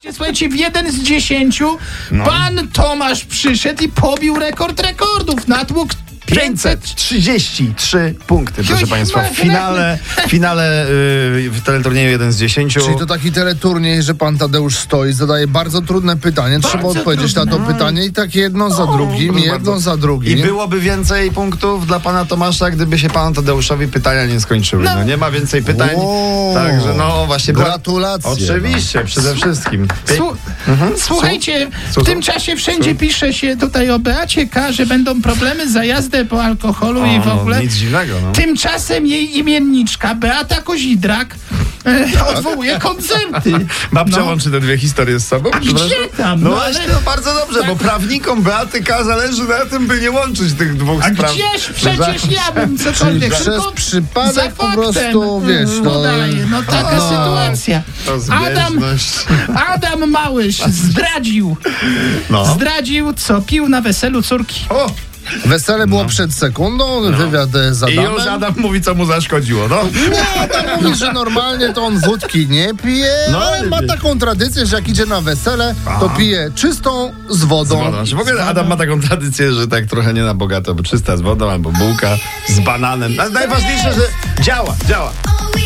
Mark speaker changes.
Speaker 1: Gdzie, Słuchajcie, w jeden z dziesięciu
Speaker 2: No.
Speaker 1: pan Tomasz przyszedł i pobił rekord rekordów. Natłuk 500.
Speaker 2: 533 punkty, proszę
Speaker 1: Oj,
Speaker 2: Państwa. W
Speaker 1: matko.
Speaker 2: finale, w finale y, w teleturnieju 1 z 10.
Speaker 3: Czyli to taki teleturniej, że pan Tadeusz stoi, zadaje bardzo trudne pytanie. Trzeba
Speaker 1: Bardzo
Speaker 3: odpowiedzieć na
Speaker 1: trudne.
Speaker 3: to pytanie i tak jedno za drugim,
Speaker 2: proszę
Speaker 3: jedno
Speaker 2: bardzo.
Speaker 3: za
Speaker 2: I
Speaker 3: drugim.
Speaker 2: byłoby więcej punktów dla pana Tomasza, gdyby się panu Tadeuszowi pytania nie skończyły. No, nie ma więcej pytań.
Speaker 3: Wow.
Speaker 2: Także no właśnie. była-
Speaker 3: Gratulacje.
Speaker 2: Oczywiście, przede wszystkim.
Speaker 1: Słu- Słuchajcie,
Speaker 2: Mhm. Słu-
Speaker 1: w tym czasie wszędzie pisze się tutaj o Beacie K, że będą problemy za jazdę po alkoholu i w
Speaker 2: O,
Speaker 1: ogóle.
Speaker 2: nic dziwnego. No.
Speaker 1: Tymczasem jej imienniczka Beata Kozidrak e,
Speaker 2: Tak.
Speaker 1: odwołuje koncerty.
Speaker 2: Babcia
Speaker 1: No.
Speaker 2: łączy te dwie historie z sobą? przepraszam?
Speaker 1: tam?
Speaker 2: No
Speaker 1: No,
Speaker 2: właśnie,
Speaker 1: ale- Tak.
Speaker 2: no bardzo dobrze, bo prawnikom Beaty K. zależy na tym, by nie łączyć tych dwóch
Speaker 1: A
Speaker 2: spraw.
Speaker 1: gdzieś przecież ja bym
Speaker 3: Czyli
Speaker 1: cokolwiek
Speaker 3: przez
Speaker 1: tylko za
Speaker 3: przypadek po
Speaker 1: faktem Mm,
Speaker 3: prostu, wiesz, no,
Speaker 1: podaję. No taka
Speaker 3: A,
Speaker 1: sytuacja.
Speaker 2: To
Speaker 1: Adam,
Speaker 2: zbieżność.
Speaker 1: Adam Małysz zdradził.
Speaker 2: No.
Speaker 1: Zdradził, co pił na weselu córki.
Speaker 2: O,
Speaker 3: wesele było przed sekundą, wywiad e, z
Speaker 2: No. I już
Speaker 3: Adamem.
Speaker 2: Adam mówi, co mu zaszkodziło. No.
Speaker 3: Nie, Adam mówi, że normalnie to on wódki nie pije,
Speaker 2: No,
Speaker 3: ale
Speaker 2: ale
Speaker 3: ma
Speaker 2: wie-
Speaker 3: taką tradycję, że jak idzie na wesele, to pije czystą z
Speaker 2: Z
Speaker 3: wodą.
Speaker 2: wodą. No, znaczy W ogóle Adam ma taką tradycję, że tak trochę nie na bogato, bo czysta z wodą albo bułka z bananem. Ale najważniejsze, że działa, działa.
Speaker 4: Oh, we